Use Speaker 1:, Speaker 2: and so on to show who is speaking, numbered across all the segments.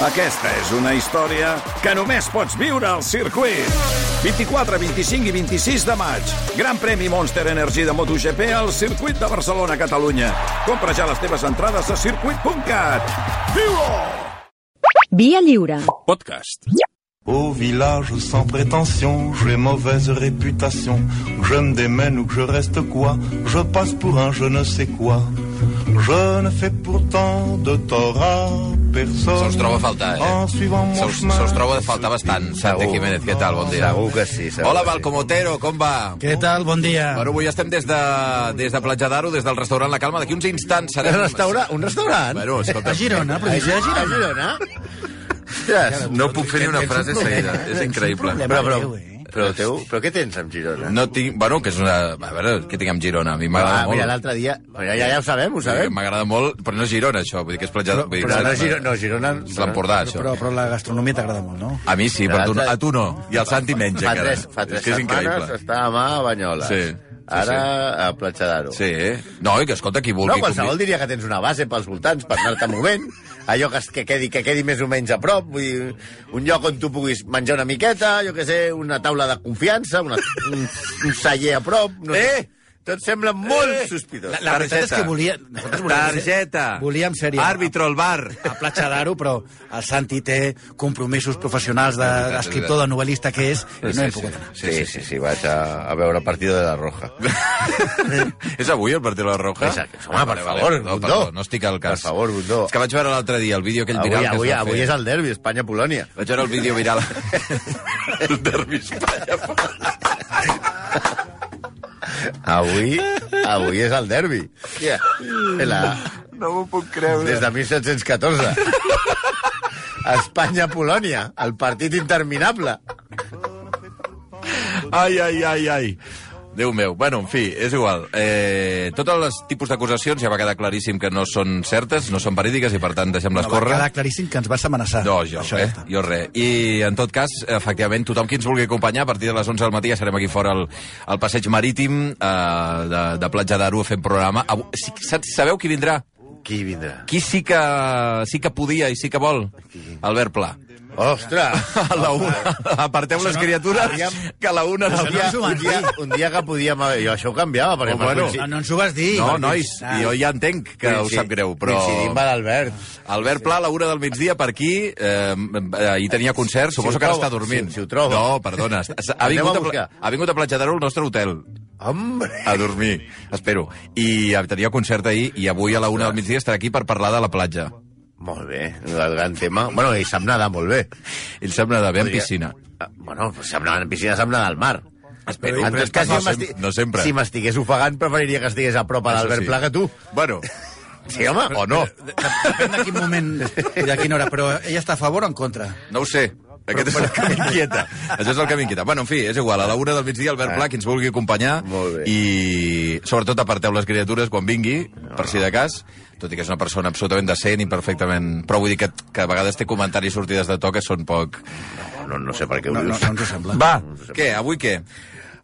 Speaker 1: Aquesta és una història que només pots viure al circuit. 24, 25 i 26 de maig. Gran premi Monster Energy de MotoGP al circuit de Barcelona, Catalunya. Compra ja les teves entrades a circuit.cat. Viu-ho!
Speaker 2: Via lliure.
Speaker 1: Podcast.
Speaker 3: Au village sans prétention, j'ai mauvaise réputation. Que Je me démène ou que je reste quoi Je passe pour un je ne sais quoi. Je ne fais pourtant de tort à personne.
Speaker 4: Se us troba a faltar, eh?
Speaker 3: En suivant
Speaker 4: Se
Speaker 3: mon
Speaker 4: us,
Speaker 3: chemin.
Speaker 4: se us troba de faltar bastant, Santi
Speaker 5: Segur.
Speaker 4: Jiménez. Què tal? Bon dia.
Speaker 5: Segur que sí, segur
Speaker 4: Hola,
Speaker 5: que sí.
Speaker 4: Balcomotero, com va?
Speaker 5: Què tal? Bon dia.
Speaker 4: Bueno, avui estem des de, des de Platja d'Aro, des del restaurant La Calma. D'aquí uns instants serem...
Speaker 5: Un restaurant? Un restaurant?
Speaker 4: Bueno, escolta,
Speaker 6: A Girona, província de
Speaker 5: A
Speaker 6: Girona.
Speaker 5: Girona?
Speaker 4: Ostres, no puc fer ni una frase seguida. És increïble.
Speaker 6: problema.
Speaker 5: Però, però,
Speaker 6: Déu, eh?
Speaker 5: però, teu, però què tens amb Girona?
Speaker 4: No tinc... Bueno, que és una... A veure, què tinc amb Girona? A mi m'agrada
Speaker 5: Ah,
Speaker 4: molt.
Speaker 5: mira, l'altre dia... Però ja, ja ho sabem, ho
Speaker 4: Eh,
Speaker 5: sabem.
Speaker 4: M'agrada molt, però no és Girona, això. Vull dir que és Platja... Vull dir,
Speaker 5: Però no,
Speaker 4: és-
Speaker 5: Girona, no, Girona...
Speaker 4: És l'Empordà, això.
Speaker 6: Però, però la gastronomia t'agrada molt, no?
Speaker 4: A mi sí, però a tu, no-
Speaker 5: L'altre-
Speaker 4: a tu no. I al Santi menys,
Speaker 5: Fa
Speaker 4: encara.
Speaker 5: tres, fa
Speaker 4: És
Speaker 5: tres
Speaker 4: que és
Speaker 5: setmanes
Speaker 4: increïble.
Speaker 5: estava a mà a Banyoles.
Speaker 4: Sí, sí,
Speaker 5: Ara a Platja d'Aro.
Speaker 4: Sí, no, i que escolta, qui vulgui...
Speaker 5: No, qualsevol diria que tens una base pels voltants per anar-te movent, allò que, es- que, quedi, que quedi més o menys a prop, vull dir, un lloc on tu puguis menjar una miqueta, jo que sé, una taula de confiança, una, un, un celler a prop... No eh! Tot sembla molt eh! sospitós.
Speaker 6: La, la veritat és que volia... Nosaltres volíem ser-
Speaker 4: Targeta.
Speaker 6: Volíem ser
Speaker 4: Àrbitro al bar.
Speaker 6: a Platja d'Aro, però el Santi té compromisos professionals de- d'escriptor, de, novel·lista que és, i no hem pogut anar.
Speaker 5: Sí, sí, sí, sí, vaig a, a veure partido de la Roja.
Speaker 4: És avui el partit de la Roja?
Speaker 5: És aquí, home, per favor,
Speaker 4: no,
Speaker 5: Bundó.
Speaker 4: perdó, no estic al cas.
Speaker 5: Per favor, Bundó.
Speaker 4: És que vaig veure l'altre dia el vídeo aquell
Speaker 5: Avui,
Speaker 4: viral que
Speaker 5: avui,
Speaker 4: es va
Speaker 5: avui
Speaker 4: fer.
Speaker 5: és el derbi, Espanya-Polònia.
Speaker 4: Vaig veure el vídeo viral. el derbi Espanya.
Speaker 5: Avui, avui és el derbi. Yeah. La,
Speaker 4: No m'ho puc creure.
Speaker 5: des de 1714. Espanya-Polònia, el partit interminable.
Speaker 4: Ai, ai, ai, ai. Déu meu. Bueno, en fi, és igual. Eh, totes les tipus d'acusacions ja va quedar claríssim que no són certes, no són verídiques i, per tant, deixem-les
Speaker 6: Va
Speaker 4: córrer.
Speaker 6: quedar claríssim que ens vas amenaçar.
Speaker 4: No, jo,
Speaker 6: Això
Speaker 4: eh?
Speaker 6: ja està.
Speaker 4: Jo res. I, en tot cas, efectivament, tothom qui ens vulgui acompanyar, a partir de les 11 del matí ja serem aquí fora al, al passeig marítim eh, de, de Platja d'Aro fent programa. Avui, sí, sa- sabeu qui vindrà?
Speaker 5: Qui vindrà?
Speaker 4: Qui sí que, sí que podia i sí que vol? Albert Pla.
Speaker 5: Ostres!
Speaker 4: A la una. Aparteu les criatures,
Speaker 5: aviam.
Speaker 4: que a la una...
Speaker 5: Un dia, un, dia, un dia que podíem haver... Jo això ho canviava, perquè...
Speaker 4: Oh, bueno.
Speaker 5: coinci-
Speaker 6: No, no ens ho vas dir.
Speaker 4: No,
Speaker 6: perquè-
Speaker 4: nois,
Speaker 5: ah.
Speaker 4: jo ja entenc que
Speaker 5: coinci-
Speaker 4: us sap greu, però...
Speaker 5: Coincidim amb l'Albert.
Speaker 4: Albert Pla, a la una del migdia, per aquí, eh, ahir tenia concert, suposo
Speaker 5: ho
Speaker 4: que ara
Speaker 5: trobo,
Speaker 4: està dormint.
Speaker 5: si- si ho trobo.
Speaker 4: No, perdona, s- s- ha
Speaker 5: Anem
Speaker 4: vingut,
Speaker 5: a
Speaker 4: a Pla-
Speaker 5: buscar.
Speaker 4: ha vingut a Platja d'Aro al nostre hotel
Speaker 5: Hombre!
Speaker 4: a dormir, espero. I eh, tenia concert ahir, i avui a la una del migdia estarà aquí per parlar de la platja.
Speaker 5: Molt bé, el gran tema. Bueno, i sap nedar molt bé.
Speaker 4: Ell sap nedar bé en piscina.
Speaker 5: Ah, Bueno, pues sap nedar en piscina, sap nedar al mar.
Speaker 4: Espero.
Speaker 5: En
Speaker 4: Però
Speaker 5: tot cas,
Speaker 4: no
Speaker 5: jo m'esti-
Speaker 4: sem- no sempre.
Speaker 5: Si m'estigués ofegant, preferiria que estigués a prop a
Speaker 4: Això
Speaker 5: l'Albert
Speaker 4: sí. Eh,
Speaker 5: Pla que tu.
Speaker 4: Bueno,
Speaker 5: Sí, home.
Speaker 4: o no,
Speaker 6: Depèn de quin moment i de quina hora, però ella està a favor o en contra?
Speaker 4: no ho sé. Aquest és el que m'inquieta. Això és el que m'inquieta. Bueno, en fi, és igual. A la una del migdia, Albert Pla, qui ens vulgui acompanyar.
Speaker 5: Eh. Molt bé.
Speaker 4: I, sobretot, aparteu les criatures quan vingui, per si de cas. Tot i que és una persona absolutament decent i perfectament... Però vull dir que, que a vegades té comentaris i sortides de to que són poc...
Speaker 5: No, no sé per què ho
Speaker 6: No, no,
Speaker 5: dius.
Speaker 6: no ens ho sembla.
Speaker 4: Va, què? Avui què?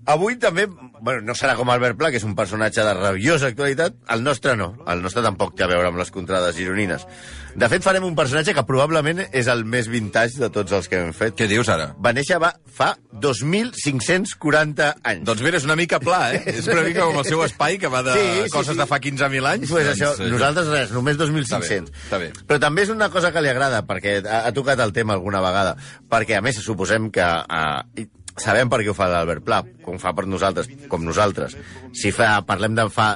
Speaker 5: Avui també, bueno, no serà com Albert Pla, que és un personatge de rabiosa actualitat, el nostre no, el nostre tampoc té a veure amb les contrades gironines. De fet, farem un personatge que probablement és el més vintage de tots els que hem fet.
Speaker 4: Què dius ara?
Speaker 5: Va néixer va, fa 2.540 anys.
Speaker 4: Doncs mira, és una mica pla, eh? És una mica com el seu espai que va de
Speaker 5: Sí, sí,
Speaker 4: coses
Speaker 5: sí.
Speaker 4: de fa 15.000 anys.
Speaker 5: Pues això,
Speaker 4: eh,
Speaker 5: nosaltres res, només 2.500.
Speaker 4: Està bé, està bé.
Speaker 5: Però també és una cosa que li agrada, perquè ha, ha tocat el tema alguna vegada, perquè a més suposem que... Uh, sabem per què ho fa l'Albert Pla, com fa per nosaltres, com nosaltres. Si fa, parlem de fa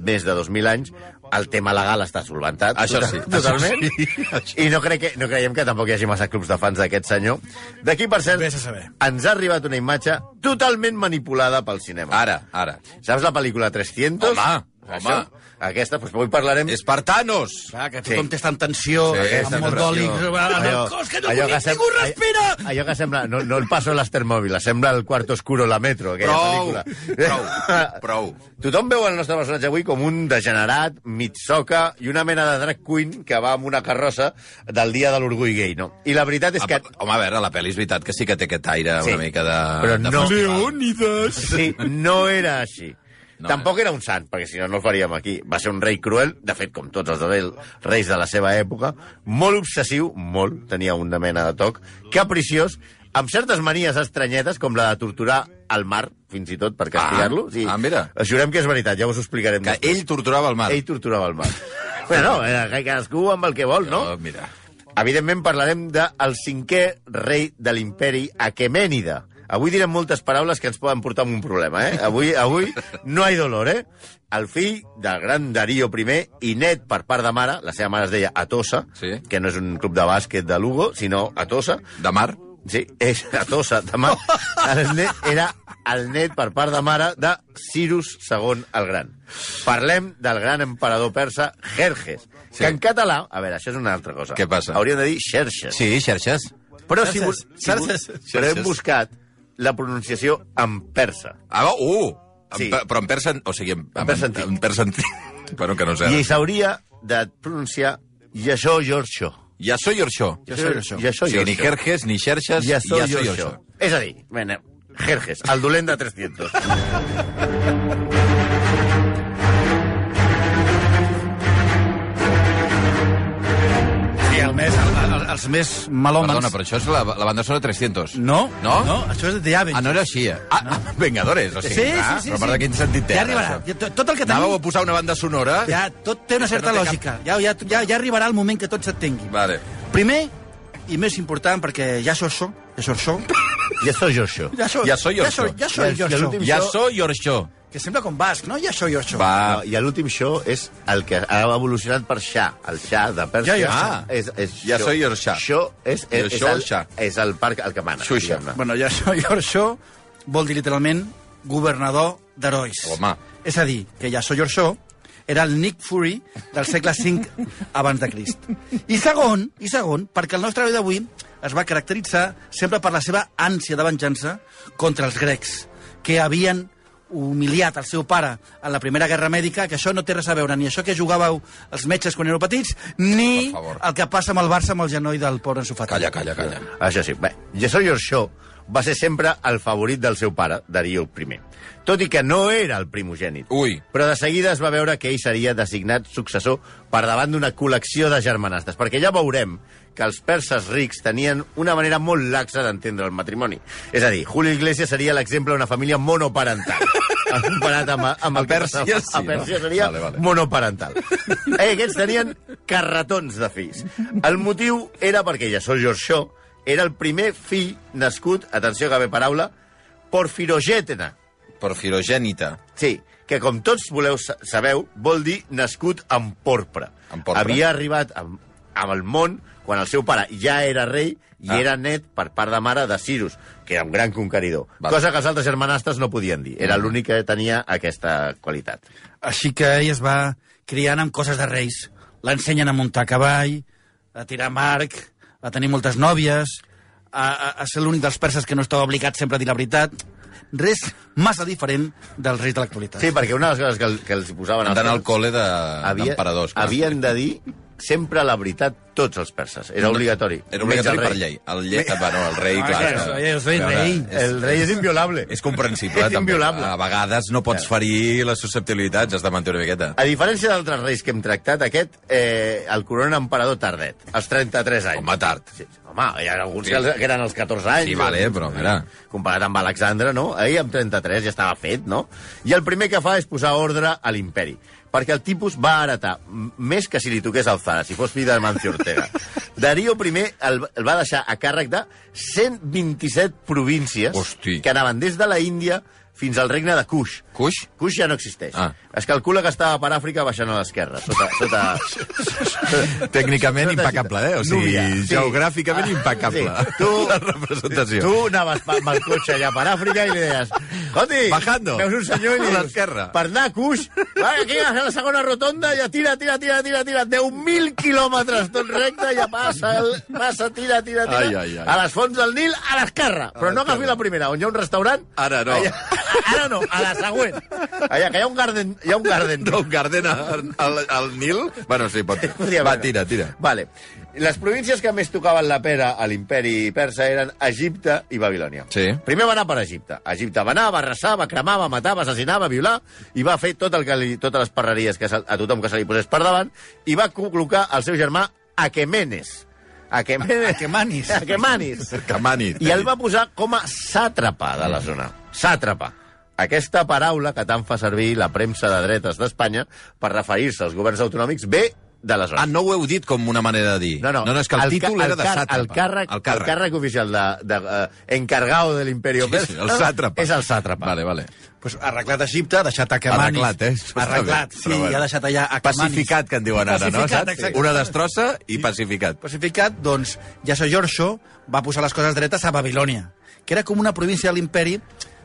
Speaker 5: més de 2.000 anys, el tema legal està solventat.
Speaker 4: Això
Speaker 5: tota-
Speaker 4: sí,
Speaker 5: Totalment.
Speaker 4: això sí.
Speaker 5: I no, crec que, no creiem que tampoc hi hagi massa clubs de fans d'aquest senyor. D'aquí, per cert,
Speaker 6: Vés a saber.
Speaker 5: ens ha arribat una imatge totalment manipulada pel cinema.
Speaker 4: Ara, ara.
Speaker 5: Saps la pel·lícula 300?
Speaker 4: Home,
Speaker 5: Això,
Speaker 4: home.
Speaker 5: aquesta, doncs avui parlarem...
Speaker 4: Espartanos!
Speaker 6: Clar, que
Speaker 5: Sí.
Speaker 6: tothom té tanta tensió,
Speaker 4: Sí,
Speaker 6: amb
Speaker 4: aquesta
Speaker 6: molt d'oli,
Speaker 4: pressió.
Speaker 6: en el cos, que no
Speaker 5: allò
Speaker 6: conec, ningú
Speaker 5: sem-
Speaker 6: respira!
Speaker 5: Allò, allò que sembla... No, no el passo a l'Astermòbil, sembla el quarto oscuro la metro, aquella
Speaker 4: Prou,
Speaker 5: pel·lícula.
Speaker 4: prou, prou.
Speaker 5: Tothom veu el nostre personatge avui com un degenerat, mig soca i una mena de drag queen que va amb una carrossa del dia de l'orgull gai, no? I la veritat és
Speaker 4: Ah,
Speaker 5: que...
Speaker 4: pa- Home, a veure, la pel·li és veritat que sí que té aquest aire
Speaker 5: Sí,
Speaker 4: una mica de...
Speaker 5: però
Speaker 4: de
Speaker 5: no-
Speaker 4: festival.
Speaker 6: Leónidas!
Speaker 5: Sí, no era així. No, Tampoc
Speaker 4: eh?
Speaker 5: era un sant, perquè si no, no el faríem aquí. Va ser un rei cruel, de fet, com tots els rei- reis de la seva època, molt obsessiu, molt, tenia una mena de toc, capriciós, amb certes manies estranyetes, com la de torturar al mar, fins i tot, per castigar-lo. Sí.
Speaker 4: ah, mira.
Speaker 5: Jurem que és veritat, ja us ho explicarem
Speaker 4: Que ell torturava el mar.
Speaker 5: Ell torturava el mar. Però no, era cadascú amb el que vol, no?
Speaker 4: Oh, mira.
Speaker 5: Evidentment parlarem del de el cinquè rei de l'imperi, Aquemènida. Avui direm moltes paraules que ens poden portar a un problema, eh? Avui, avui no hi ha dolor, eh? El fill del gran Darío I i net per part de mare, la seva mare es deia Atosa,
Speaker 4: Sí.
Speaker 5: que no és un club de bàsquet de Lugo, sinó Atosa,
Speaker 4: De mar?
Speaker 5: Sí, és a Tossa, de mar. El net, era el net per part de mare de Cirus II el Gran. Parlem del gran emperador persa Jerjes, sí. que en català... A veure, això és una altra cosa.
Speaker 4: Què passa?
Speaker 5: Hauríem de dir Xerxes.
Speaker 4: Sí, xerxes.
Speaker 5: Però si, bu- si, bu-
Speaker 6: Xerxes.
Speaker 5: però hem
Speaker 4: Xerxes.
Speaker 5: buscat la pronunciació en persa.
Speaker 4: Ah, va, uh!
Speaker 5: Sí.
Speaker 4: Sí. Però en persa... O sigui, en, en,
Speaker 5: persa
Speaker 4: en,
Speaker 5: antic.
Speaker 4: en persa antic. Però que no sé.
Speaker 5: I s'hauria de pronunciar Yasho Yorxo.
Speaker 4: Ja soy orxó.
Speaker 6: Yasho Yorxo.
Speaker 4: O
Speaker 5: Yasho
Speaker 4: sigui, ni
Speaker 5: Yorxo.
Speaker 4: jerjes, ni xerxes,
Speaker 5: Ja soy,
Speaker 4: ja
Speaker 5: ja
Speaker 4: soy
Speaker 5: jo.
Speaker 4: orxó.
Speaker 5: És a dir, bueno, Jerjes, el dolent de 300.
Speaker 6: Sí, el més, el, el, els més malòmens...
Speaker 4: Perdona, però això és la, la banda sonora 300.
Speaker 6: No,
Speaker 4: No?
Speaker 6: no, això és de The Avengers.
Speaker 4: Ah, no era així, eh? Ah, no. Vengadores, o sigui,
Speaker 6: Sí,
Speaker 4: clar,
Speaker 6: sí, sí,
Speaker 4: Però per
Speaker 6: sí.
Speaker 4: quin sentit té?
Speaker 6: Ja
Speaker 4: ara,
Speaker 6: arribarà.
Speaker 4: això?
Speaker 6: Ja, tot- tot el que
Speaker 4: Anàveu
Speaker 6: tenim-
Speaker 4: a posar una banda sonora...
Speaker 6: Ja, tot té una certa
Speaker 4: no té
Speaker 6: lògica. Ja, ja, ja, ja arribarà el moment que tot s'entengui.
Speaker 4: Vale.
Speaker 6: Primer, i més important, perquè ja soc això, ja soc això,
Speaker 5: Ja soy Yorxo.
Speaker 6: ja soc,
Speaker 4: Ja soy
Speaker 6: ja
Speaker 4: Orso.
Speaker 6: soc, ja soc
Speaker 5: Ja- ja
Speaker 6: jo,
Speaker 5: l'últim-
Speaker 6: això.
Speaker 4: Ja soy orxó.
Speaker 6: Que sembla com basc, no? Ja soc jo, això.
Speaker 4: Va,
Speaker 5: No, I l'últim show és el que ha evolucionat per Xa, el Xa de Pèrsia.
Speaker 6: Ja, ja,
Speaker 4: ah.
Speaker 5: és, és
Speaker 4: Ja
Speaker 5: Xo.
Speaker 4: soy your Xa.
Speaker 5: Xo és, és,
Speaker 4: Your
Speaker 5: és,
Speaker 4: Xo,
Speaker 5: el,
Speaker 4: Xa.
Speaker 5: és el parc el que mana.
Speaker 4: Xuxa.
Speaker 5: diguem-ne.
Speaker 6: Bueno, ja soc jo, això vol dir literalment governador d'herois.
Speaker 4: Home.
Speaker 6: És a dir, que ja soc jo, això era el Nick Fury del segle V abans de Crist. I segon, i segon, perquè el nostre rei d'avui es va caracteritzar sempre per la seva ànsia de venjança contra els grecs, que havien humiliat el seu pare en la Primera Guerra Mèdica, que això no té res a veure ni això que jugàveu els metges quan éreu petits, ni
Speaker 4: Per favor.
Speaker 6: el que passa amb el Barça amb el genoll del pobre ensofat.
Speaker 4: calla, calla, calla.
Speaker 5: Això sí, bé, Yesor Yorxó va ser sempre el favorit del seu pare, Darío I, tot i que no era el primogènit.
Speaker 4: Ui.
Speaker 5: Però de seguida es va veure que ell seria designat successor per davant d'una col·lecció de germanastes, perquè ja veurem que els perses rics tenien una manera molt laxa d'entendre el matrimoni. És a dir, Julio Iglesias seria l'exemple d'una família monoparental. comparat amb, amb el
Speaker 4: A Pèrsia,
Speaker 5: que-
Speaker 4: sí,
Speaker 5: a Pèrsia
Speaker 4: no?
Speaker 5: seria
Speaker 4: Vale, vale.
Speaker 5: monoparental. Eh, aquests tenien carretons de fills. El motiu era perquè Yasó Jorxó era el primer fill nascut, atenció que ve paraula, porfirogètena.
Speaker 4: Porfirogènita.
Speaker 5: Sí, que com tots voleu sa- sabeu, vol dir nascut amb porpra.
Speaker 4: Amb porpra.
Speaker 5: Havia arribat amb, amb el món quan el seu pare ja era rei i
Speaker 4: Ah.
Speaker 5: ah. era net per part de mare de Cirus, que era un gran conqueridor.
Speaker 4: Vale. Mm.
Speaker 5: Vale. Cosa que els altres germanastres no podien dir. Era l'únic que tenia aquesta qualitat.
Speaker 6: Així que ell es va criant amb coses de reis. L'ensenyen a muntar a cavall, a tirar amb arc, a tenir moltes nòvies, a, a, a ser l'únic dels perses que no estava obligat sempre a dir la veritat. Res massa diferent dels reis de l'actualitat.
Speaker 5: Sí, perquè una de les coses que, el- que els hi posaven...
Speaker 4: Anant Ah. al col·le de-
Speaker 5: havia-
Speaker 4: d'emperadors. clar.
Speaker 5: Havien de dir sempre la veritat tots els perses. Era obligatori.
Speaker 4: Era obligatori
Speaker 5: Menys
Speaker 4: per
Speaker 5: el rei.
Speaker 4: llei. El, lle... bueno, el rei,
Speaker 6: Ah,
Speaker 4: clar.
Speaker 6: clar,
Speaker 4: clar.
Speaker 6: jo soy rei.
Speaker 5: El rei és inviolable.
Speaker 4: És comprensible,
Speaker 5: És
Speaker 4: també.
Speaker 5: inviolable.
Speaker 4: A vegades no pots ferir les susceptibilitats, has de mantenir una miqueta.
Speaker 5: A diferència d'altres reis que hem tractat, aquest eh, el corona emperador tardet, als 33 anys.
Speaker 4: Home, tard.
Speaker 5: Sí, home, hi ha alguns
Speaker 4: Sí.
Speaker 5: sí. que eren als 14 anys. eh?
Speaker 4: Sí, vale, però mira.
Speaker 5: Comparat amb Alexandre, no? Ahir amb 33 ja estava fet, no? I el primer que fa és posar ordre a l'imperi, perquè el tipus va heretar m- més que si li toqués el Zara, si fos fill de Mancio Ortega. Darío I el, el va deixar a càrrec de 127 províncies
Speaker 4: Hosti.
Speaker 5: que anaven des de la Índia fins al regne de Kush.
Speaker 4: Cuix?
Speaker 5: Cuix ja no existeix.
Speaker 4: Ah.
Speaker 5: Ah. Es calcula que estava per Àfrica baixant a l'esquerra, sota... sota...
Speaker 4: Tècnicament
Speaker 5: Sota-
Speaker 4: impecable, eh? O sigui,
Speaker 5: Núbia, sí.
Speaker 4: geogràficament
Speaker 5: Ah,
Speaker 4: impecable.
Speaker 5: sí. Tu-
Speaker 4: La representació.
Speaker 5: Tu anaves pa- amb el cotxe allà per Àfrica i li deies... Joti,
Speaker 4: Bajando.
Speaker 5: veus un senyor i
Speaker 4: A
Speaker 5: li dius...
Speaker 4: l'esquerra."
Speaker 5: Per anar a Cuix, va, aquí a la segona rotonda, ja tira, tira, tira, tira, tira, 10.000 quilòmetres tot recte, ja passa, el, passa, tira, tira, tira,
Speaker 4: Ai, ai, ai.
Speaker 5: a les fonts del Nil, a l'esquerra. Però no agafi la primera, on hi ha un restaurant...
Speaker 4: Ara no.
Speaker 5: Allà, ara no, a la segona. moment. Allà, que hi ha un garden... Hi ha un garden.
Speaker 4: Dog Garden al, al, al Nil? Bueno, sí, pot...
Speaker 5: Podria
Speaker 4: Va,
Speaker 5: haver-ne.
Speaker 4: tira, tira.
Speaker 5: Vale. Les províncies que més tocaven la pera a l'imperi persa eren Egipte i Babilònia.
Speaker 4: Sí.
Speaker 5: Primer va anar per Egipte. A Egipte va anar, va arrasar, va cremar, va matar, va assassinar, va violar i va fer tot el que li, totes les perreries que se, a tothom que se li posés per davant i va col·locar el seu germà Aquemenes. Aquemenes.
Speaker 6: Aquemanis.
Speaker 5: Aquemanis.
Speaker 4: Camani.
Speaker 5: I el va posar com a sàtrapa de la
Speaker 4: Mm.
Speaker 5: zona. Sàtrapa. Aquesta paraula que tant fa servir la premsa de dretes d'Espanya per referir-se als governs autonòmics ve de la zona.
Speaker 4: Ah, no ho heu dit com una manera de dir. no, és que el,
Speaker 5: ca-
Speaker 4: títol era de
Speaker 5: car-
Speaker 4: sàtrapa.
Speaker 5: El càrrec, el càrrec. El càrrec oficial de, de, eh, encargado de l'imperio
Speaker 4: Sí, sí, el sàtrapa.
Speaker 5: És el sàtrapa.
Speaker 4: Vale, vale.
Speaker 6: Pues arreglat a Egipte, ha deixat Aquemanis.
Speaker 4: Arreglat, eh? Això està
Speaker 6: Arreglat,
Speaker 4: bé,
Speaker 6: sí,
Speaker 4: però bueno.
Speaker 6: i ha deixat allà Aquemanis.
Speaker 4: Pacificat, que en diuen ara, no?
Speaker 6: Pacificat,
Speaker 4: Saps?
Speaker 6: exacte.
Speaker 4: Una destrossa i pacificat.
Speaker 6: Pacificat, doncs, Jasso Giorgio va posar les coses dretes a Babilònia, que era com una província de l'imperi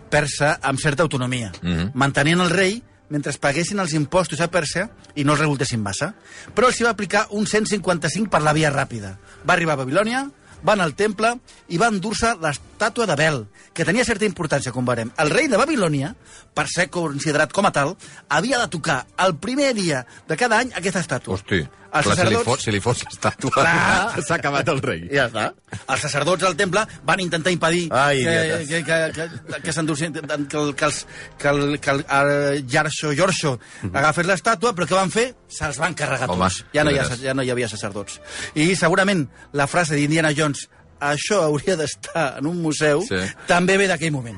Speaker 6: persa amb certa autonomia,
Speaker 4: Mhm.
Speaker 6: mantenint el rei mentre es paguessin els impostos a Pèrsia i no es revoltessin massa. Però els hi va aplicar un 155 per la via ràpida. Va arribar a Babilònia, va anar al temple i va endur-se l'estàtua de Bel, que tenia certa importància, com veurem. El rei de Babilònia, per ser considerat com a tal, havia de tocar el primer dia de cada any aquesta estàtua.
Speaker 4: Hosti, clar,
Speaker 6: Els
Speaker 4: si li
Speaker 6: sacerdots-
Speaker 4: fos, si li fos l'estàtua,
Speaker 6: Clar.
Speaker 4: s'ha acabat el rei.
Speaker 5: Ah. Ja està.
Speaker 6: els sacerdots del temple van intentar impedir
Speaker 5: Ai,
Speaker 6: que,
Speaker 5: idiotes.
Speaker 6: que, que, que, que, s'endurci- que, el- que, els, que, el, que el, el Giorgio, Giorgio
Speaker 5: Mhm.
Speaker 6: agafés l'estàtua, però què van fer? Se'ls van carregar
Speaker 4: Home,
Speaker 6: tots. Ja no, hi ha,
Speaker 4: veuràs.
Speaker 6: ja no hi havia sacerdots. I segurament la frase d'Indiana Jones això hauria d'estar en un museu,
Speaker 4: Sí.
Speaker 6: també ve d'aquell moment.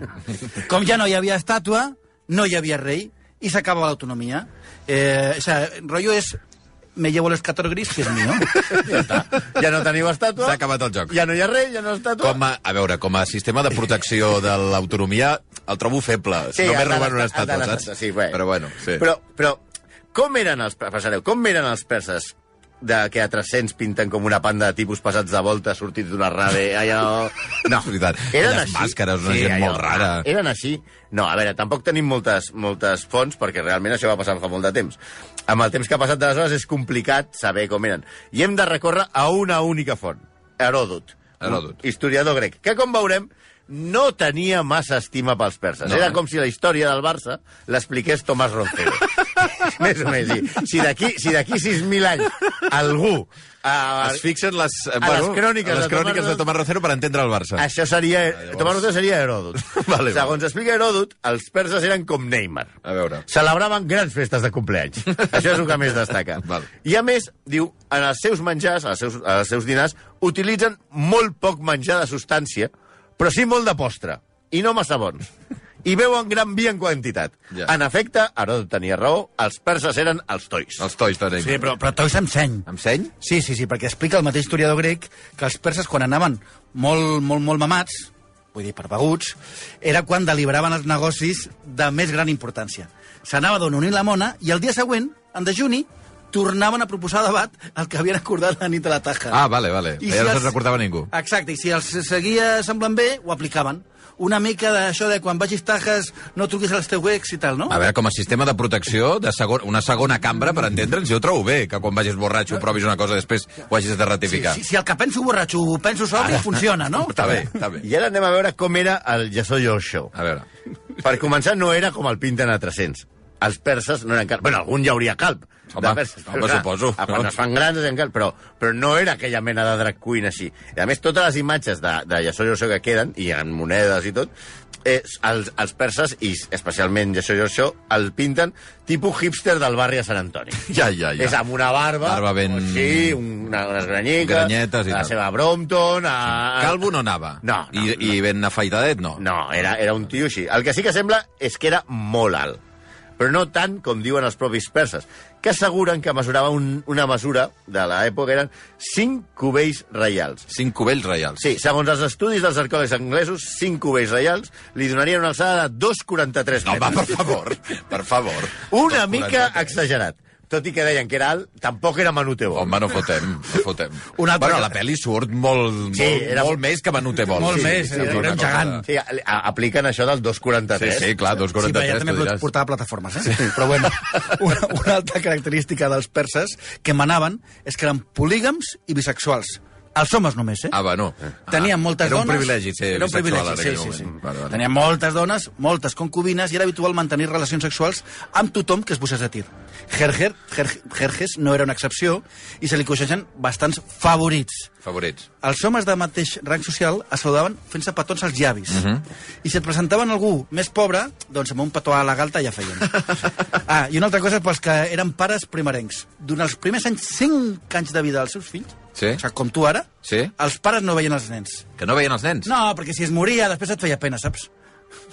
Speaker 6: Com ja no hi havia estàtua, no hi havia rei, i s'acaba l'autonomia. Eh, o sigui, el rotllo és me llevo los 14 gris, que és mío.
Speaker 5: Ja, està. ja no teniu estàtua.
Speaker 4: S'ha acabat el joc.
Speaker 5: Ja no hi ha rei, ja no hi ha estàtua.
Speaker 4: Com a, a veure, com a sistema de protecció de l'autonomia, el trobo feble.
Speaker 5: Sí,
Speaker 4: Només
Speaker 5: el de
Speaker 4: roben
Speaker 5: la-
Speaker 4: una
Speaker 5: el de
Speaker 4: estàtua,
Speaker 5: la
Speaker 4: saps?
Speaker 5: Sí, bé.
Speaker 4: Però bueno, sí.
Speaker 5: Però, però com eren els... Passareu, com eren els perses de que a 300 pinten com una panda de tipus passats de volta, sortits d'una rave, oh. allò... No,
Speaker 4: És veritat.
Speaker 5: Eren
Speaker 4: Aquelles
Speaker 5: així.
Speaker 4: màscares, una gent molt rara.
Speaker 5: Eren així. No, a veure, tampoc tenim moltes, moltes fonts, perquè realment això va passar fa molt de temps. Amb el temps que ha passat d'aleshores és complicat saber com eren. I hem de recórrer a una única font, Heròdot.
Speaker 4: Heròdot.
Speaker 5: Un Historiador grec, que com veurem no tenia massa estima pels perses.
Speaker 4: No,
Speaker 5: No, Era
Speaker 4: eh?
Speaker 5: com si la història del Barça l'expliqués Tomàs Roncero. Més o menys. sí. Si d'aquí si d'aquí 6.000 anys algú... eh, A,
Speaker 4: Es fixen les,
Speaker 5: A Ah, les cròniques
Speaker 4: a les
Speaker 5: de
Speaker 4: cròniques
Speaker 5: Tomàs Ah,
Speaker 4: de Tomàs Rocero per entendre el Barça.
Speaker 5: això seria...
Speaker 4: Ah, llavors.
Speaker 5: Tomàs Roncero seria Heròdot.
Speaker 4: Vale,
Speaker 5: Segons explica Heròdot, els perses eren com Neymar.
Speaker 4: A veure.
Speaker 5: Celebraven grans festes de compleanys. Això és el que més destaca.
Speaker 4: Val.
Speaker 5: I a més, diu, en els seus menjars, en els seus, en els seus dinars, utilitzen molt poc menjar de substància, però sí molt de postre, i no massa bons. I beuen gran vi en quantitat.
Speaker 4: Ja.
Speaker 5: En efecte, Heròdot tenia raó, els perses eren els tois.
Speaker 4: Els tois, de
Speaker 6: Sí,
Speaker 4: Neymar.
Speaker 6: però, però Toys amb seny.
Speaker 4: Amb seny?
Speaker 6: Sí, sí, sí, perquè explica el mateix historiador grec que els perses, quan anaven molt, molt, molt mamats, vull dir, perbeguts, era quan deliberaven els negocis de més gran importància. S'anava d'on unir la mona i el dia següent, en dejuni, tornaven a proposar a debat el que havien acordat la nit a la taja.
Speaker 4: Ah, vale, vale.
Speaker 6: I
Speaker 4: Ja no
Speaker 6: els-
Speaker 4: se'n recordava ningú.
Speaker 5: Ah,
Speaker 6: Exacte, i si els seguia semblant bé, ho aplicaven. Una mica d'això de quan vagis tajes no truquis als teus ex i tal, no?
Speaker 4: A veure, com a sistema de protecció, de segon, una segona cambra, per entendre'ns, jo ho trobo bé, que quan vagis borratxo provis una cosa i després ho hagis de
Speaker 6: si,
Speaker 4: ratificar.
Speaker 6: si, si el que penso borratxo ho penso sobri, funciona, no?
Speaker 4: Està bé, està bé.
Speaker 5: I ara anem a veure com era el Yasó Show.
Speaker 4: A veure.
Speaker 5: Per començar, no era com el pinten a 300. Els perses no eren calb. Bueno, algun hi hauria calb.
Speaker 4: Home,
Speaker 5: de perses,
Speaker 4: home, suposo.
Speaker 5: A quan
Speaker 4: No?
Speaker 5: es fan grans es calb, però, però no era aquella mena de drag queen així. I a més, totes les imatges de, de Yasó Yorsho que queden, i en monedes i tot, eh, els, els perses, i especialment Yasó Yorsho, el pinten tipus hipster del barri de Sant Antoni.
Speaker 4: Ja, ja, ja.
Speaker 5: És amb una barba,
Speaker 4: Barba ben-
Speaker 5: sí, una, unes granyiques,
Speaker 4: Granyetes i
Speaker 5: la
Speaker 4: tal.
Speaker 5: seva Brompton...
Speaker 6: Ah.
Speaker 5: A...
Speaker 4: Calvo no anava.
Speaker 5: No, no,
Speaker 4: I, I ben afeitadet, no.
Speaker 5: No, era, era un tio així. El que sí que sembla és que era molt alt, però no tant com diuen els propis perses, que asseguren que mesurava un, una mesura de l'època, eren 5 cubells reials.
Speaker 4: Cinc cubells reials.
Speaker 5: Sí, segons els estudis dels arqueòlegs anglesos, 5 cubells reials li donarien una alçada de 2,43
Speaker 4: No, va,
Speaker 5: metres.
Speaker 4: per favor, per favor.
Speaker 5: Una
Speaker 4: Dos
Speaker 5: mica
Speaker 4: quaranta-tres.
Speaker 5: exagerat. Tot i que deien que era alt, tampoc era Manute Bol.
Speaker 4: Home, no fotem, no fotem.
Speaker 6: Un altre
Speaker 4: bueno,
Speaker 6: que-
Speaker 4: la pel·li surt molt,
Speaker 5: Sí,
Speaker 4: molt,
Speaker 5: era-
Speaker 4: molt més que Manute Vol.
Speaker 6: Molt més, era
Speaker 4: una
Speaker 6: un
Speaker 4: cosa
Speaker 6: gegant.
Speaker 5: Sí, a- a- apliquen això del 2,43.
Speaker 4: de- Sí, sí, clar, dos
Speaker 6: Sí, però ja
Speaker 4: 43,
Speaker 6: també
Speaker 4: tu diràs.
Speaker 6: portava plataformes, eh? Sí. Però bueno, una, una altra característica dels perses que manaven és que eren polígams i bisexuals. Els homes només, eh?
Speaker 4: Ah, va, no.
Speaker 6: Tenien moltes
Speaker 4: era
Speaker 6: dones...
Speaker 4: un privilegi ser
Speaker 6: era un
Speaker 4: bisexual
Speaker 6: privilegi,
Speaker 4: en aquell
Speaker 6: sí, sí, sí.
Speaker 4: moment. Vale, vale.
Speaker 6: Tenien moltes dones, moltes concubines, i era habitual mantenir relacions sexuals amb tothom que es posés a tir. Gerger, Ger- Gerges no era una excepció, i se li coneixen bastants favorits.
Speaker 4: Favorits.
Speaker 6: Els homes de mateix rang social es saludaven fent-se petons als llavis.
Speaker 4: Mhm.
Speaker 6: I si et presentaven algú més pobre, doncs amb un petó a la galta ja feien. ah, i una altra cosa pels que eren pares primerencs. Durant els primers anys, 5 anys de vida dels seus fills,
Speaker 4: Sí.
Speaker 6: o sigui, com tu ara,
Speaker 4: Sí.
Speaker 6: els pares no veien els nens.
Speaker 4: Que no veien els nens?
Speaker 6: No, perquè si es moria, després et feia pena, saps?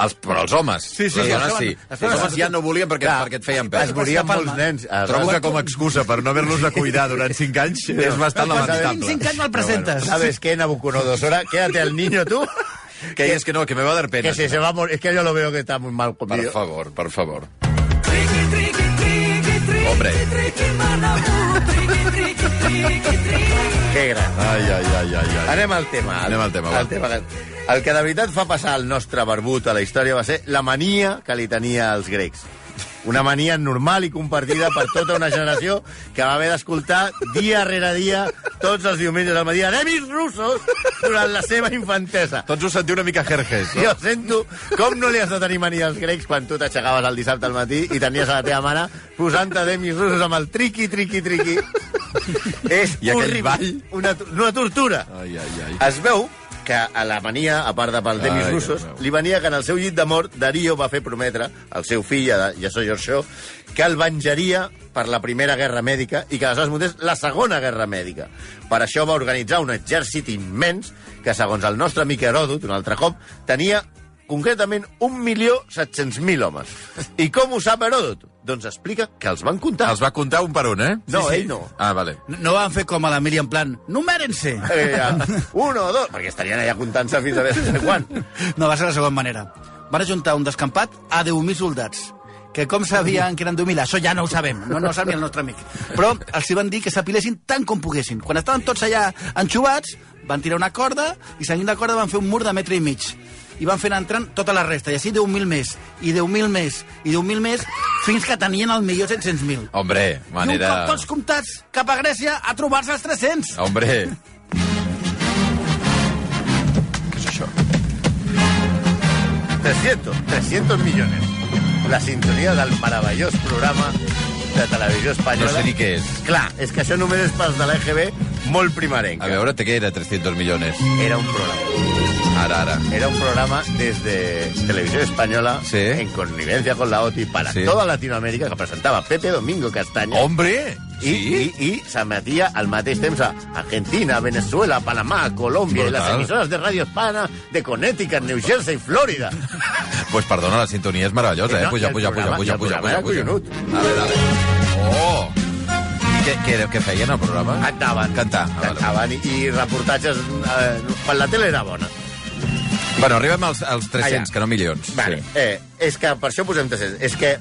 Speaker 4: Els, però els homes.
Speaker 6: Sí, sí,
Speaker 4: les
Speaker 6: els
Speaker 4: dones
Speaker 6: homes-
Speaker 4: sí.
Speaker 6: les
Speaker 4: Els,
Speaker 6: dones-
Speaker 4: homes ja no volien perquè, perquè et feien
Speaker 5: Es
Speaker 4: pes.
Speaker 6: moria-
Speaker 5: morien
Speaker 6: Palma.
Speaker 5: molts nens. Ara,
Speaker 4: Trobo que com a excusa per no haver-los de cuidar durant 5 anys és bastant
Speaker 6: Quan
Speaker 4: lamentable.
Speaker 6: tens 25 anys me'l
Speaker 5: Bueno,
Speaker 6: presentes.
Speaker 5: ¿Sabes qué, Nabucodonosora? Quédate al niño tú.
Speaker 4: Que és que no, que me va dar pena.
Speaker 5: Que si se va a morir. Es que yo lo veo que está muy mal
Speaker 4: Per
Speaker 5: comido.
Speaker 4: favor, per favor. Hombre.
Speaker 5: Qué gran.
Speaker 4: Ai, ai, ai, ai, ai.
Speaker 5: Anem al tema.
Speaker 4: Anem al tema, va.
Speaker 5: El, tema que, el que de veritat fa passar al nostre barbut a la història va ser la mania que li tenia als grecs. Una mania normal i compartida per tota una generació que va haver d'escoltar dia rere dia tots els diumenges al matí anemis russos durant la seva infantesa.
Speaker 4: Tots us sentiu una mica jerjes, no?
Speaker 5: Jo sento com no li has de tenir mania als grecs quan tu t'aixecaves el dissabte al matí i tenies a la teva mare posant-te demis russos amb el triqui, triqui, triqui. És
Speaker 4: I aquell
Speaker 5: horrible.
Speaker 4: ball?
Speaker 5: Una, to- una tortura.
Speaker 4: Ai, ai, ai.
Speaker 5: Es veu que a la mania, a part de pel demis
Speaker 4: Ai,
Speaker 5: russos,
Speaker 4: Déu meu.
Speaker 5: li venia que en el seu llit de mort Darío va fer prometre al seu fill, a Yasso Giorgio, que el venjaria per la Primera Guerra Mèdica i que aleshores muntés la Segona Guerra Mèdica. Per això va organitzar un exèrcit immens que, segons el nostre amic Heròdot, un altre cop, tenia concretament 1.700.000 homes. I com ho sap Heròdot? Doncs explica que els van comptar.
Speaker 4: Els va comptar un per un, eh?
Speaker 5: No, ell no.
Speaker 4: Ah, vale.
Speaker 6: No, no van fer com a l'Emili, en plan, numèrense!
Speaker 5: Eh, ja. Uno, dos, perquè estarien allà comptant-se fins a veure quan.
Speaker 6: No, va ser la següent manera. Van ajuntar un descampat a 10.000 soldats que com sabien que eren 10.000, això ja no ho sabem, no, no ho sap ni el nostre amic. Però els hi van dir que s'apilessin tant com poguessin. Quan estaven tots allà enxubats, van tirar una corda i seguint la corda van fer un mur de metre i mig. I van fent entrant tota la resta, i així 10.000 més, i 10.000 més, i 10.000 més, fins que tenien el millor 700.000.
Speaker 4: Hombre,
Speaker 6: I un
Speaker 4: manera...
Speaker 6: cop tots comptats cap a Grècia a trobar-se els 300.
Speaker 4: Hombre. Què és això?
Speaker 5: 300, 300 millones. La sintonia del meravellós programa de televisió
Speaker 4: No
Speaker 5: espanyola.
Speaker 4: sé ni què és.
Speaker 5: Clar, és que això només és pels de l'EGB molt primerenc.
Speaker 4: A veure, té que era 300 milions.
Speaker 5: Era un programa.
Speaker 4: Ara, ara.
Speaker 5: Era un programa desde Televisión Española,
Speaker 4: Sí.
Speaker 5: en connivencia con la OTI, para
Speaker 4: Sí.
Speaker 5: toda Latinoamérica, que presentaba Pepe Domingo Castaña.
Speaker 4: Hombre!
Speaker 5: I,
Speaker 4: Sí?
Speaker 5: i, i s'emetia al mateix temps a Argentina, Venezuela, Panamà, Colòmbia i les
Speaker 4: Brutal.
Speaker 5: emissores de ràdio hispana de Connecticut, New Jersey, Florida.
Speaker 4: Doncs pues perdona, la sintonia és meravellosa,
Speaker 5: Eh,
Speaker 4: eh?
Speaker 5: no, i
Speaker 4: Puja,
Speaker 5: el
Speaker 4: puja, puja,
Speaker 5: programa- i
Speaker 4: puja,
Speaker 5: el
Speaker 4: puja,
Speaker 5: programa
Speaker 4: puja, puja.
Speaker 5: era collonut.
Speaker 4: Dale, dale. Oh! I Què, què, era- què feien al programa?
Speaker 5: Cantaven.
Speaker 4: Cantar. Ah, vale.
Speaker 5: Cantaven i, i reportatges... Eh, quan la tele era bona.
Speaker 4: Bueno, arribem als, als 300,
Speaker 5: Allà.
Speaker 4: que no milions.
Speaker 5: Ah, Vale.
Speaker 4: Sí.
Speaker 5: Eh, és que per això posem 300. És que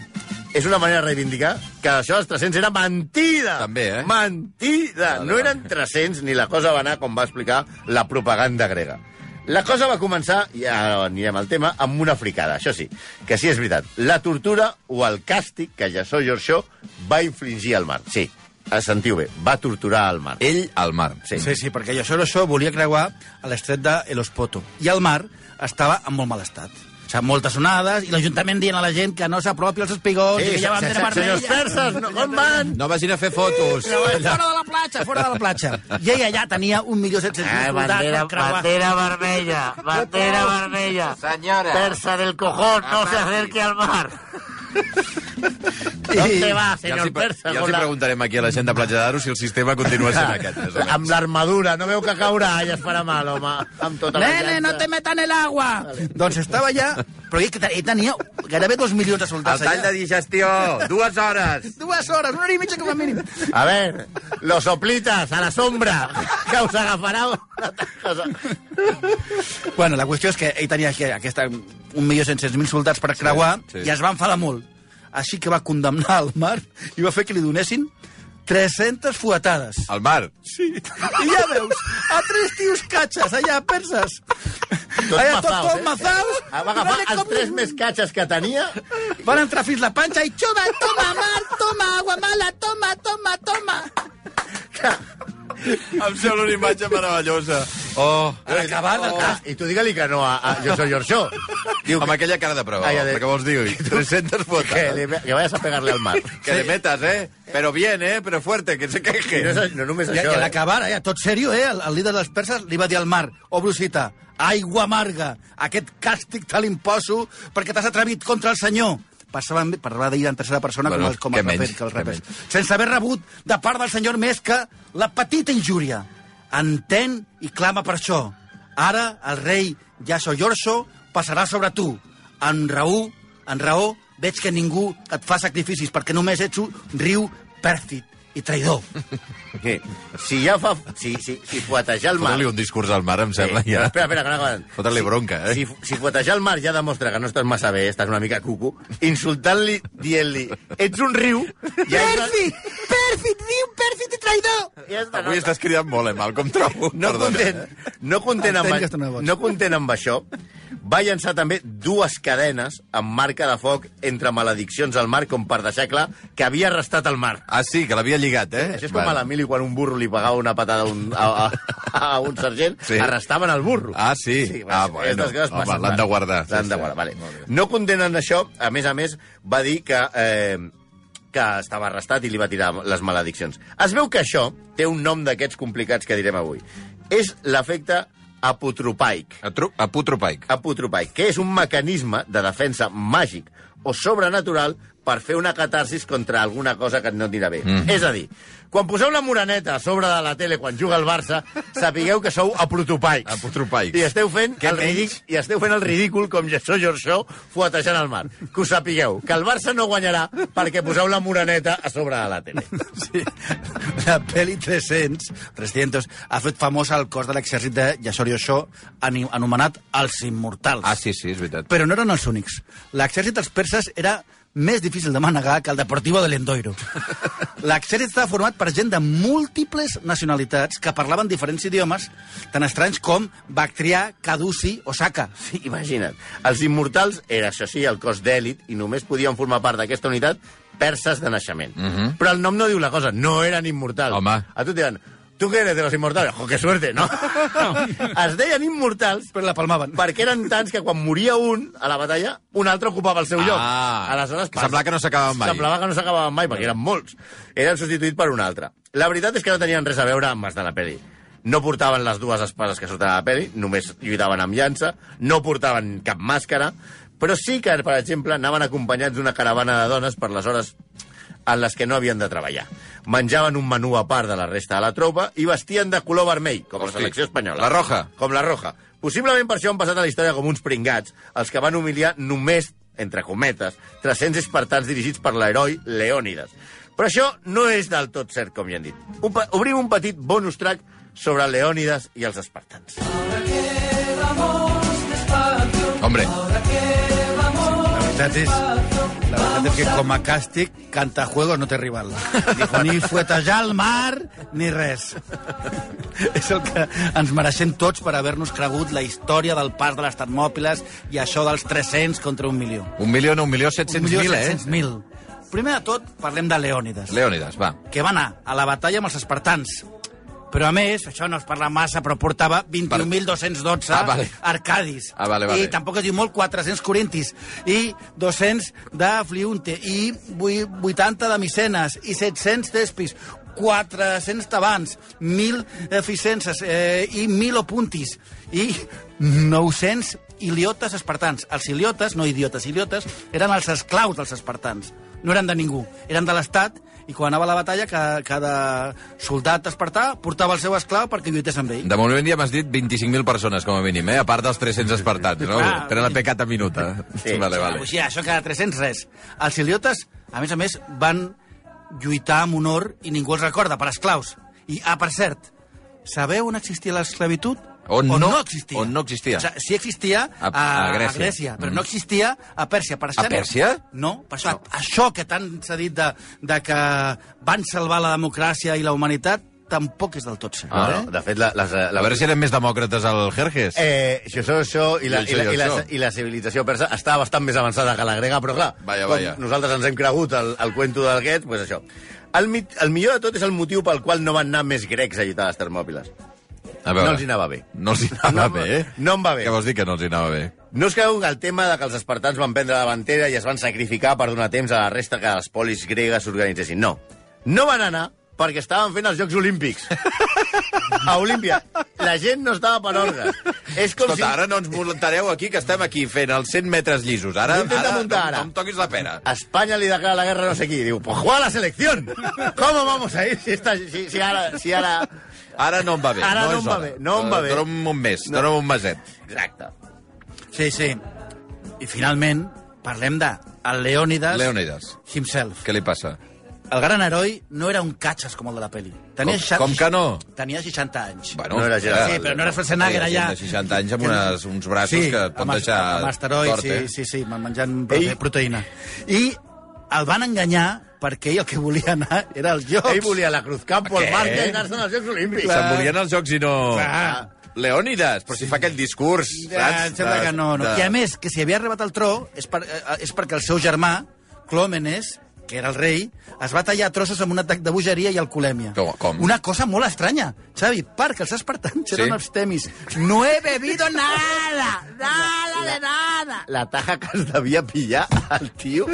Speaker 5: és una manera de reivindicar que això dels 300 era mentida.
Speaker 4: També, eh?
Speaker 5: Mentida.
Speaker 4: Vale,
Speaker 5: No eren 300 ni la cosa va anar com va explicar la propaganda grega. La cosa va començar, i ara anirem al tema, amb una fricada, això sí, que sí és veritat. La tortura o el càstig que Jassó Giorgio va infligir al mar. Sí, eh, sentiu bé, va torturar al mar.
Speaker 4: Ell al mar.
Speaker 5: Sí.
Speaker 6: Sí, sí, perquè Yashoro Show volia creuar a l'estret de El Ospoto. I el mar estava en molt mal estat. O sigui, moltes onades, i l'Ajuntament dient a la gent que no s'apropi als espigons, i que ja van
Speaker 5: se-
Speaker 6: fer
Speaker 5: se-
Speaker 6: vermella.
Speaker 5: senyors perses, no, on van?
Speaker 4: No vagin a fer fotos.
Speaker 6: Fora de la platja, fora de la platja. I ell allà tenia un milió set cents mil soldats per creuar.
Speaker 5: Ah, vermella, bandera vermella. Senyora. Persa del cojón, no se acerque al mar. ¿Dónde va,
Speaker 4: Ja els,
Speaker 5: senyor
Speaker 4: hi, pre-
Speaker 5: Persa?
Speaker 4: ja els
Speaker 5: Con
Speaker 4: hi
Speaker 5: la-
Speaker 4: preguntarem aquí a la gent de Platja d'Aro si el sistema continua sent aquest. més o menys.
Speaker 5: Ah, Amb l'armadura, no veu que caurà, ja es farà mal, home. Amb tota la
Speaker 6: Nene, no te metan el agua! Doncs estava allà, però ell, ell tenia gairebé dos milions de soldats allà.
Speaker 5: digestió, dues hores.
Speaker 6: Dues hores, una hora i mitja com a mínim.
Speaker 5: A ver, los soplitas, a la sombra, que us agafarà... una cosa.
Speaker 6: Bueno, la qüestió és que ell tenia aquí aquesta, un milió cent mil soldats per creuar sí,
Speaker 4: sí.
Speaker 6: i es va enfadar molt. Així que va condemnar el mar i va fer que li donessin 300 fuetades.
Speaker 4: Al mar.
Speaker 6: Sí. I ja veus, a tres tios catxes, allà, perses.
Speaker 5: Tots
Speaker 6: allà, tot,
Speaker 5: mafaos,
Speaker 6: tot
Speaker 5: eh?
Speaker 6: mazaus.
Speaker 5: Va agafar els tres més catxes que tenia
Speaker 6: Van entrar fins la panxa i xuba, toma, mar, toma, agua mala, toma, toma, toma.
Speaker 4: Em sembla una imatge meravellosa. Oh,
Speaker 6: Per acabar, de cas.
Speaker 5: Ah, I tu digue-li que no a, a Jo soy Orxó.
Speaker 4: Diu amb aquella cara de prova,
Speaker 5: Ai,
Speaker 4: Ai,
Speaker 5: Ah, ja de-
Speaker 4: perquè vols dir 300
Speaker 5: Que,
Speaker 4: botes.
Speaker 5: li, que vayas a pegarle al mar.
Speaker 4: Que le metas, eh? Pero bien, eh? Pero fuerte, que se
Speaker 5: I no,
Speaker 4: queje.
Speaker 5: és, no només
Speaker 6: I,
Speaker 5: això,
Speaker 6: i a
Speaker 5: eh?
Speaker 6: l'acabar, eh, tot serio, eh, el, el líder dels perses li va dir al mar, o oh, Brusita, aigua amarga, aquest càstig te l'imposo perquè t'has atrevit contra el senyor. Passaven, parlava d'ell en tercera persona
Speaker 4: Bueno,
Speaker 6: bueno, com,
Speaker 4: què
Speaker 6: el, com el
Speaker 4: menys,
Speaker 6: raper, que
Speaker 4: què
Speaker 6: el raper. Sense haver rebut de part del senyor més que la petita injúria. Entén i clama per això. Ara el rei Yasoyorso passarà sobre tu. En raó, en raó, veig que ningú et fa sacrificis perquè només ets un riu pèrfid i traïdor.
Speaker 5: Sí. Si ja fa... Si, si, si fuetejar el mar...
Speaker 4: Fota-li un discurs al mar, em sembla,
Speaker 5: Sí, però
Speaker 4: ja.
Speaker 5: Espera, espera, que no acaben.
Speaker 4: Fota-li
Speaker 5: Si-
Speaker 4: bronca, eh?
Speaker 5: Si, si fuetejar el mar ja demostra que no estàs massa bé, estàs una mica cucu, insultant-li, dient-li, ets un riu... Ja és una-
Speaker 6: Pèrfid! Diu pèrfid i traïdor!
Speaker 5: Ja és una-
Speaker 4: Avui estàs cridant molt, eh, Malcom, trobo.
Speaker 5: No
Speaker 4: Perdona,
Speaker 5: content,
Speaker 4: eh?
Speaker 5: no content,
Speaker 6: Entenc
Speaker 5: amb,
Speaker 6: que estan nerviosos.
Speaker 5: no content amb això, va llançar també dues cadenes amb marca de foc entre malediccions al mar com per deixar clar que havia arrestat el mar.
Speaker 4: Ah, sí, que l'havia lligat, eh?
Speaker 5: Això és com a l'Emili quan un burro li pagava una patada a un, a, a, a un sergent,
Speaker 4: Sí.
Speaker 5: sí. arrestaven el burro.
Speaker 4: Ah, sí? Ah, bueno.
Speaker 5: aquestes coses
Speaker 4: Home,
Speaker 5: passen,
Speaker 4: l'han
Speaker 5: vale.
Speaker 4: de guardar.
Speaker 5: L'han
Speaker 4: Sí,
Speaker 5: de
Speaker 4: sí.
Speaker 5: guardar, vale.
Speaker 4: Molt bé.
Speaker 5: No condenen això, a més a més, va dir que, eh, que estava arrestat i li va tirar les malediccions. Es veu que això té un nom d'aquests complicats que direm avui. És l'efecte apotropaic
Speaker 4: A, tru... a Putropaic.
Speaker 5: apotropaic, que és un mecanisme de defensa màgic o sobrenatural per fer una catarsis contra alguna cosa que no et anirà bé. Mm. És a dir, quan poseu la moraneta a sobre de la tele quan juga el Barça, sapigueu que sou aprotopaics.
Speaker 4: Aprotopaics.
Speaker 5: I esteu fent,
Speaker 4: Què
Speaker 5: el ridic, I esteu fent el ridícul com Jesó Jorxó fuetejant el mar. Que ho sapigueu, que el Barça no guanyarà perquè poseu la moraneta a sobre de la tele.
Speaker 6: Sí. La pel·li 300, 300 ha fet famosa el cos de l'exèrcit de Yasori Osho, ani- anomenat Els Immortals.
Speaker 4: Ah, sí, sí, és veritat.
Speaker 6: Però no eren els únics. L'exèrcit dels perses era més difícil de manegar que el Deportivo de l'Endoiro. L'exèrcit estava format per gent de múltiples nacionalitats que parlaven diferents idiomes tan estranys com bactrià, caduci o saca.
Speaker 5: Sí, imagina't. Els immortals era, això sí, el cos d'èlit i només podien formar part d'aquesta unitat perses de naixement. Mm -hmm. Però el nom no diu la cosa, no eren immortals.
Speaker 4: Home.
Speaker 5: A tu et diuen, tu què eres de los immortals? Jo, que suerte, no? es deien immortals
Speaker 6: Però la palmaven.
Speaker 5: perquè eren tants que quan moria un a la batalla, un altre ocupava el seu lloc.
Speaker 4: Ah.
Speaker 5: Aleshores,
Speaker 4: Que semblava que no s'acabaven mai.
Speaker 5: Semblava que no s'acabaven mai, perquè eren molts. Eren substituïts per un altre. La veritat és que no tenien res a veure amb els de la peli. No portaven les dues espases que surten a la peli, només lluitaven amb llança, no portaven cap màscara, però sí que, per exemple, anaven acompanyats d'una caravana de dones per les hores en les que no havien de treballar. Menjaven un menú a part de la resta de la tropa i vestien de color vermell, com
Speaker 4: Hosti.
Speaker 5: la selecció espanyola.
Speaker 4: La roja.
Speaker 5: Com la roja. Possiblement per això han passat a la història com uns pringats, els que van humiliar només, entre cometes, 300 espartans dirigits per l'heroi Leònides. Però això no és del tot cert, com ja han dit. Un pe- Obrim un petit bonus track sobre Leònides i els espartans.
Speaker 4: Hombre,
Speaker 6: La veritat és, la veritat és que com a càstig, cantajuegos no té rival. Ni fuetejar el mar, ni res. és el que ens mereixem tots per haver-nos cregut la història del pas de les Termòpiles i això dels 300 contra un milió.
Speaker 4: un milió, no, un milió
Speaker 6: Un milió
Speaker 4: 700.000, eh?
Speaker 6: 700.000. Primer de tot, parlem de Leònides
Speaker 4: Leònides, va.
Speaker 6: que va anar a la batalla amb els espartans. Però, a més, això no es parla massa, però portava 21.212
Speaker 4: Ah, vale.
Speaker 6: arcadis.
Speaker 4: Ah, vale, vale.
Speaker 6: I tampoc es diu molt 400 corintis, i 200 de fliunte, i vuit- 80 de micenes, i 700 d'espis, 400 tabans, 1.000 eficenses eh, i 1.000 opuntis, i 900 iliotes espartans. Els iliotes, no idiotes, iliotes, eren els esclaus dels espartans. No eren de ningú, eren de l'Estat, i quan anava a la batalla cada, cada soldat espartà portava el seu esclau perquè lluités amb ell.
Speaker 4: De moment ja m'has dit 25.000 persones, com a mínim, eh? A part dels 300 espartans, no?
Speaker 6: Clar.
Speaker 4: Tenen la pecata minuta.
Speaker 5: Ah, Sí.
Speaker 4: Vale, vale.
Speaker 6: O sigui, això cada 300 res. Els iliotes, a més a més, van lluitar amb honor i ningú els recorda, per esclaus. I, ah, per cert, sabeu on existia l'esclavitud?
Speaker 4: On
Speaker 6: on
Speaker 4: no-
Speaker 6: no, existia.
Speaker 4: on no existia.
Speaker 6: O sigui, sí existia
Speaker 4: A-
Speaker 6: a,
Speaker 4: a
Speaker 6: a,
Speaker 4: Grècia.
Speaker 6: Grècia. a Grècia, però
Speaker 4: Mm.
Speaker 6: no existia a Pèrsia. Per això,
Speaker 4: Pèrsia?
Speaker 6: No, per això, això que tant s'ha dit de, de que van salvar la democràcia i la humanitat, tampoc és del tot cert.
Speaker 5: Ah, no, de fet, la, la, la,
Speaker 4: A veure si eren més demòcrates al Jerjes.
Speaker 5: Eh, això, això i la, i, la, i, la,
Speaker 4: Això, això.
Speaker 5: i la civilització persa està bastant més avançada que la grega, però clar,
Speaker 4: Vaja,
Speaker 5: com
Speaker 4: vaja.
Speaker 5: nosaltres ens hem cregut el, el cuento del Guet, doncs això. El, mit, el millor de tot és el motiu pel qual no van anar més grecs a lluitar a les Termòpiles.
Speaker 4: A veure.
Speaker 5: No els hi anava bé.
Speaker 4: No els hi anava
Speaker 5: No,
Speaker 4: bé, eh?
Speaker 5: no em va bé.
Speaker 4: Què vols dir que no els hi anava bé?
Speaker 5: No us quedeu que el tema de que els espartans van prendre la davantera i es van sacrificar per donar temps a la resta que les polis gregues s'organitzessin. No. No van anar perquè estaven fent els Jocs Olímpics. A Olímpia. La gent no estava per orgues. És com
Speaker 4: Escolta,
Speaker 5: si...
Speaker 4: ara no ens muntareu aquí, que estem aquí fent els 100 metres llisos. Ara,
Speaker 5: No intenta
Speaker 4: ara,
Speaker 5: muntar,
Speaker 4: no,
Speaker 5: ara.
Speaker 4: no em toquis la pera.
Speaker 5: A España le declara la guerra a no sé qui. Diu, pues juega a la selección. ¿Cómo vamos a ir si, esta, si, si ara... Si ara...
Speaker 4: Ara no em va bé.
Speaker 5: Ara no
Speaker 4: és
Speaker 5: em va
Speaker 4: hora.
Speaker 5: bé, no em va bé.
Speaker 4: Dóna'm un mes, no. dóna'm un meset.
Speaker 5: Exacte.
Speaker 6: Sí, sí. I finalment, parlem de el Leònides,
Speaker 4: Leonidas,
Speaker 6: himself.
Speaker 4: què li passa?
Speaker 6: El gran heroi no era un catxes com el de la peli. Tenia
Speaker 4: Com-
Speaker 6: xa-
Speaker 4: com que no?
Speaker 6: Tenia 60 anys.
Speaker 4: Bueno,
Speaker 5: No era Gerard.
Speaker 6: Sí, però no era Schwarzenegger,
Speaker 4: Hi ha
Speaker 6: allà.
Speaker 4: gent de 60 anys amb unes, uns braços
Speaker 6: sí,
Speaker 4: que et pot
Speaker 6: amb,
Speaker 4: deixar
Speaker 6: Amb asteroids,
Speaker 4: tort, eh?
Speaker 6: sí, sí, sí, man- menjant
Speaker 5: Ell-
Speaker 6: ell... proteïna. I el van enganyar perquè ell el que volia anar era als jocs.
Speaker 5: Ell volia la Cruz Campo,
Speaker 4: Què?
Speaker 5: el Marca i anar-se'n als Jocs Olímpics.
Speaker 4: Se'n volien els jocs i no...
Speaker 6: Clar.
Speaker 4: Leònides, però si fa aquell discurs,
Speaker 6: Ja, em sembla
Speaker 4: De-
Speaker 6: que no, no.
Speaker 4: de-
Speaker 6: I a més, que si havia arribat al tro és, per, eh, és perquè el seu germà, Clòmenes, que era el rei, es va tallar a trossos amb un atac de bogeria i alcoholèmia.
Speaker 4: Com- com?
Speaker 6: Una cosa molt estranya, Xavi, perquè els espartans
Speaker 4: Sí.
Speaker 6: eren abstemis. No he bebido nada, nada de nada.
Speaker 5: la taja que es devia pillar al tio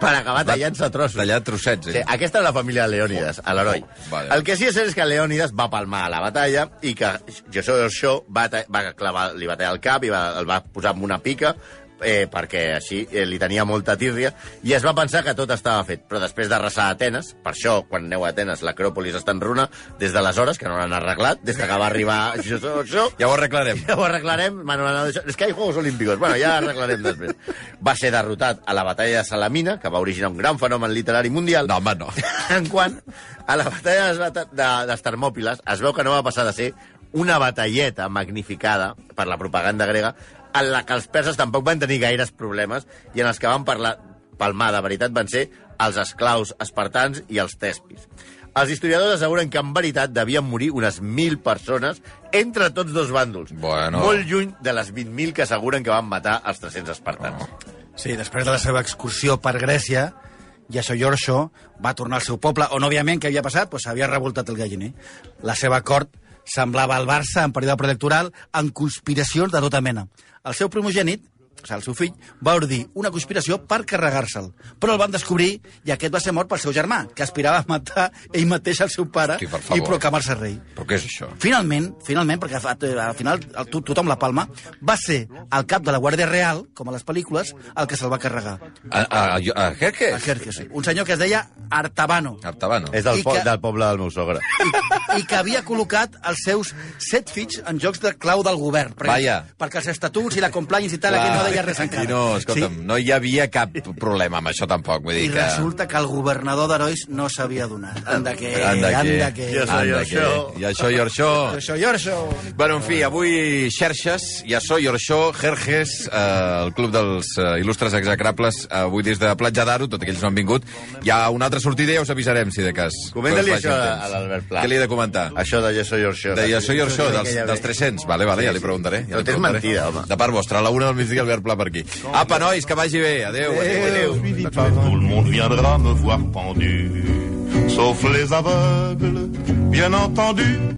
Speaker 5: per acabar tallant-se a trossos.
Speaker 4: Tallar trossets,
Speaker 5: Sí,
Speaker 4: eh?
Speaker 5: aquesta és la família de Leònides, a l'heroi.
Speaker 4: Oh, vale.
Speaker 5: El que sí que és cert és que Leònides va palmar a la batalla i que José Orxó va, ta- va clavar, li va tallar el cap i va, el va posar amb una pica eh, perquè així eh, li tenia molta tírria i es va pensar que tot estava fet. Però després de resar a Atenes, per això quan aneu a Atenes l'acròpolis està en runa, des d'aleshores, que no l'han arreglat, des de que va arribar José Orxó,
Speaker 4: Ja ho arreglarem.
Speaker 5: ja ho arreglarem. Bueno, no, no, és que hi ha Juegos Olímpicos. Bueno, ja arreglarem després. Va ser derrotat a la batalla de Salamina, que va originar un gran fenomen literari mundial.
Speaker 4: No, home, no.
Speaker 5: En quant a la batalla de, les bata- de, de Termòpiles, es veu que no va passar de ser una batalleta magnificada per la propaganda grega, en la que els perses tampoc van tenir gaires problemes i en els que van parlar, palmar de veritat van ser els esclaus espartans i els tespis. Els historiadors asseguren que en veritat devien morir unes 1.000 persones entre tots dos bàndols,
Speaker 4: Bueno.
Speaker 5: molt lluny de les 20.000 que asseguren que van matar els 300 espartans. Oh.
Speaker 6: Sí, després de la seva excursió per Grècia, Yasso Yorxo va tornar al seu poble, on, òbviament, què havia passat? Pues havia revoltat el galliner. La seva cort semblava al Barça en període predectoral en conspiracions de tota mena. El seu primogènit, o sigui, el seu fill, va ordir una conspiració per carregar-se'l. Però el van descobrir i aquest va ser mort pel seu germà, que aspirava a matar ell mateix el seu pare
Speaker 4: Hosti, per favor.
Speaker 6: i proclamar-se rei.
Speaker 4: Però què és això?
Speaker 6: Finalment, finalment, perquè fa- eh, al final el- to- tothom la palma, va ser el cap de la Guàrdia Real, com a les pel·lícules, el que se'l va carregar.
Speaker 4: A, a, a, a
Speaker 6: El
Speaker 4: Jerjes?
Speaker 6: Jerjes, un senyor que es deia Artabano
Speaker 4: Artabano.
Speaker 5: És del,
Speaker 6: I
Speaker 5: po
Speaker 6: que-
Speaker 5: del poble del meu sogre.
Speaker 6: i que havia col·locat els seus set fills en jocs de clau del govern. Perquè,
Speaker 4: Vaja.
Speaker 6: perquè els estatuts i la compliance i tal, aquí no deia res encara.
Speaker 4: I no, escolta'm, sí? no hi havia cap problema amb això tampoc. Vull dir
Speaker 6: I
Speaker 4: que...
Speaker 6: resulta que el governador d'Herois no s'havia adonat. Anda que...
Speaker 4: Ah, Anda que...
Speaker 6: Anda que...
Speaker 5: Jo soy
Speaker 4: anda
Speaker 5: Orxó.
Speaker 4: que- I això i això.
Speaker 6: Això, jo, això.
Speaker 4: Bueno, en fi, avui xerxes, ja so, Orxó, Jerjes, eh, el club dels eh, il·lustres execrables, eh, avui des de Platja d'Aro, tot aquells no han vingut. Hi ha una altra sortida, ja us avisarem, si de cas.
Speaker 5: Comenta-li
Speaker 4: Que us vagi
Speaker 5: això
Speaker 4: el
Speaker 5: a-
Speaker 4: temps.
Speaker 5: a l'Albert Pla.
Speaker 4: Què li he de comentar?
Speaker 5: Això de Yeso Yorxo.
Speaker 4: De Yasso i Orxó, dels, dels 300. Vale, vale, ja li preguntaré. Ja
Speaker 5: Tot
Speaker 4: li
Speaker 5: és
Speaker 4: preguntaré.
Speaker 5: mentida, home.
Speaker 4: De part vostra, a la una del migdia Albert Pla per aquí. Apa, nois, que vagi bé. Adéu. adéu, adéu.
Speaker 3: Tout le monde viendra me voir pendu, sauf les aveugles, bien entendu.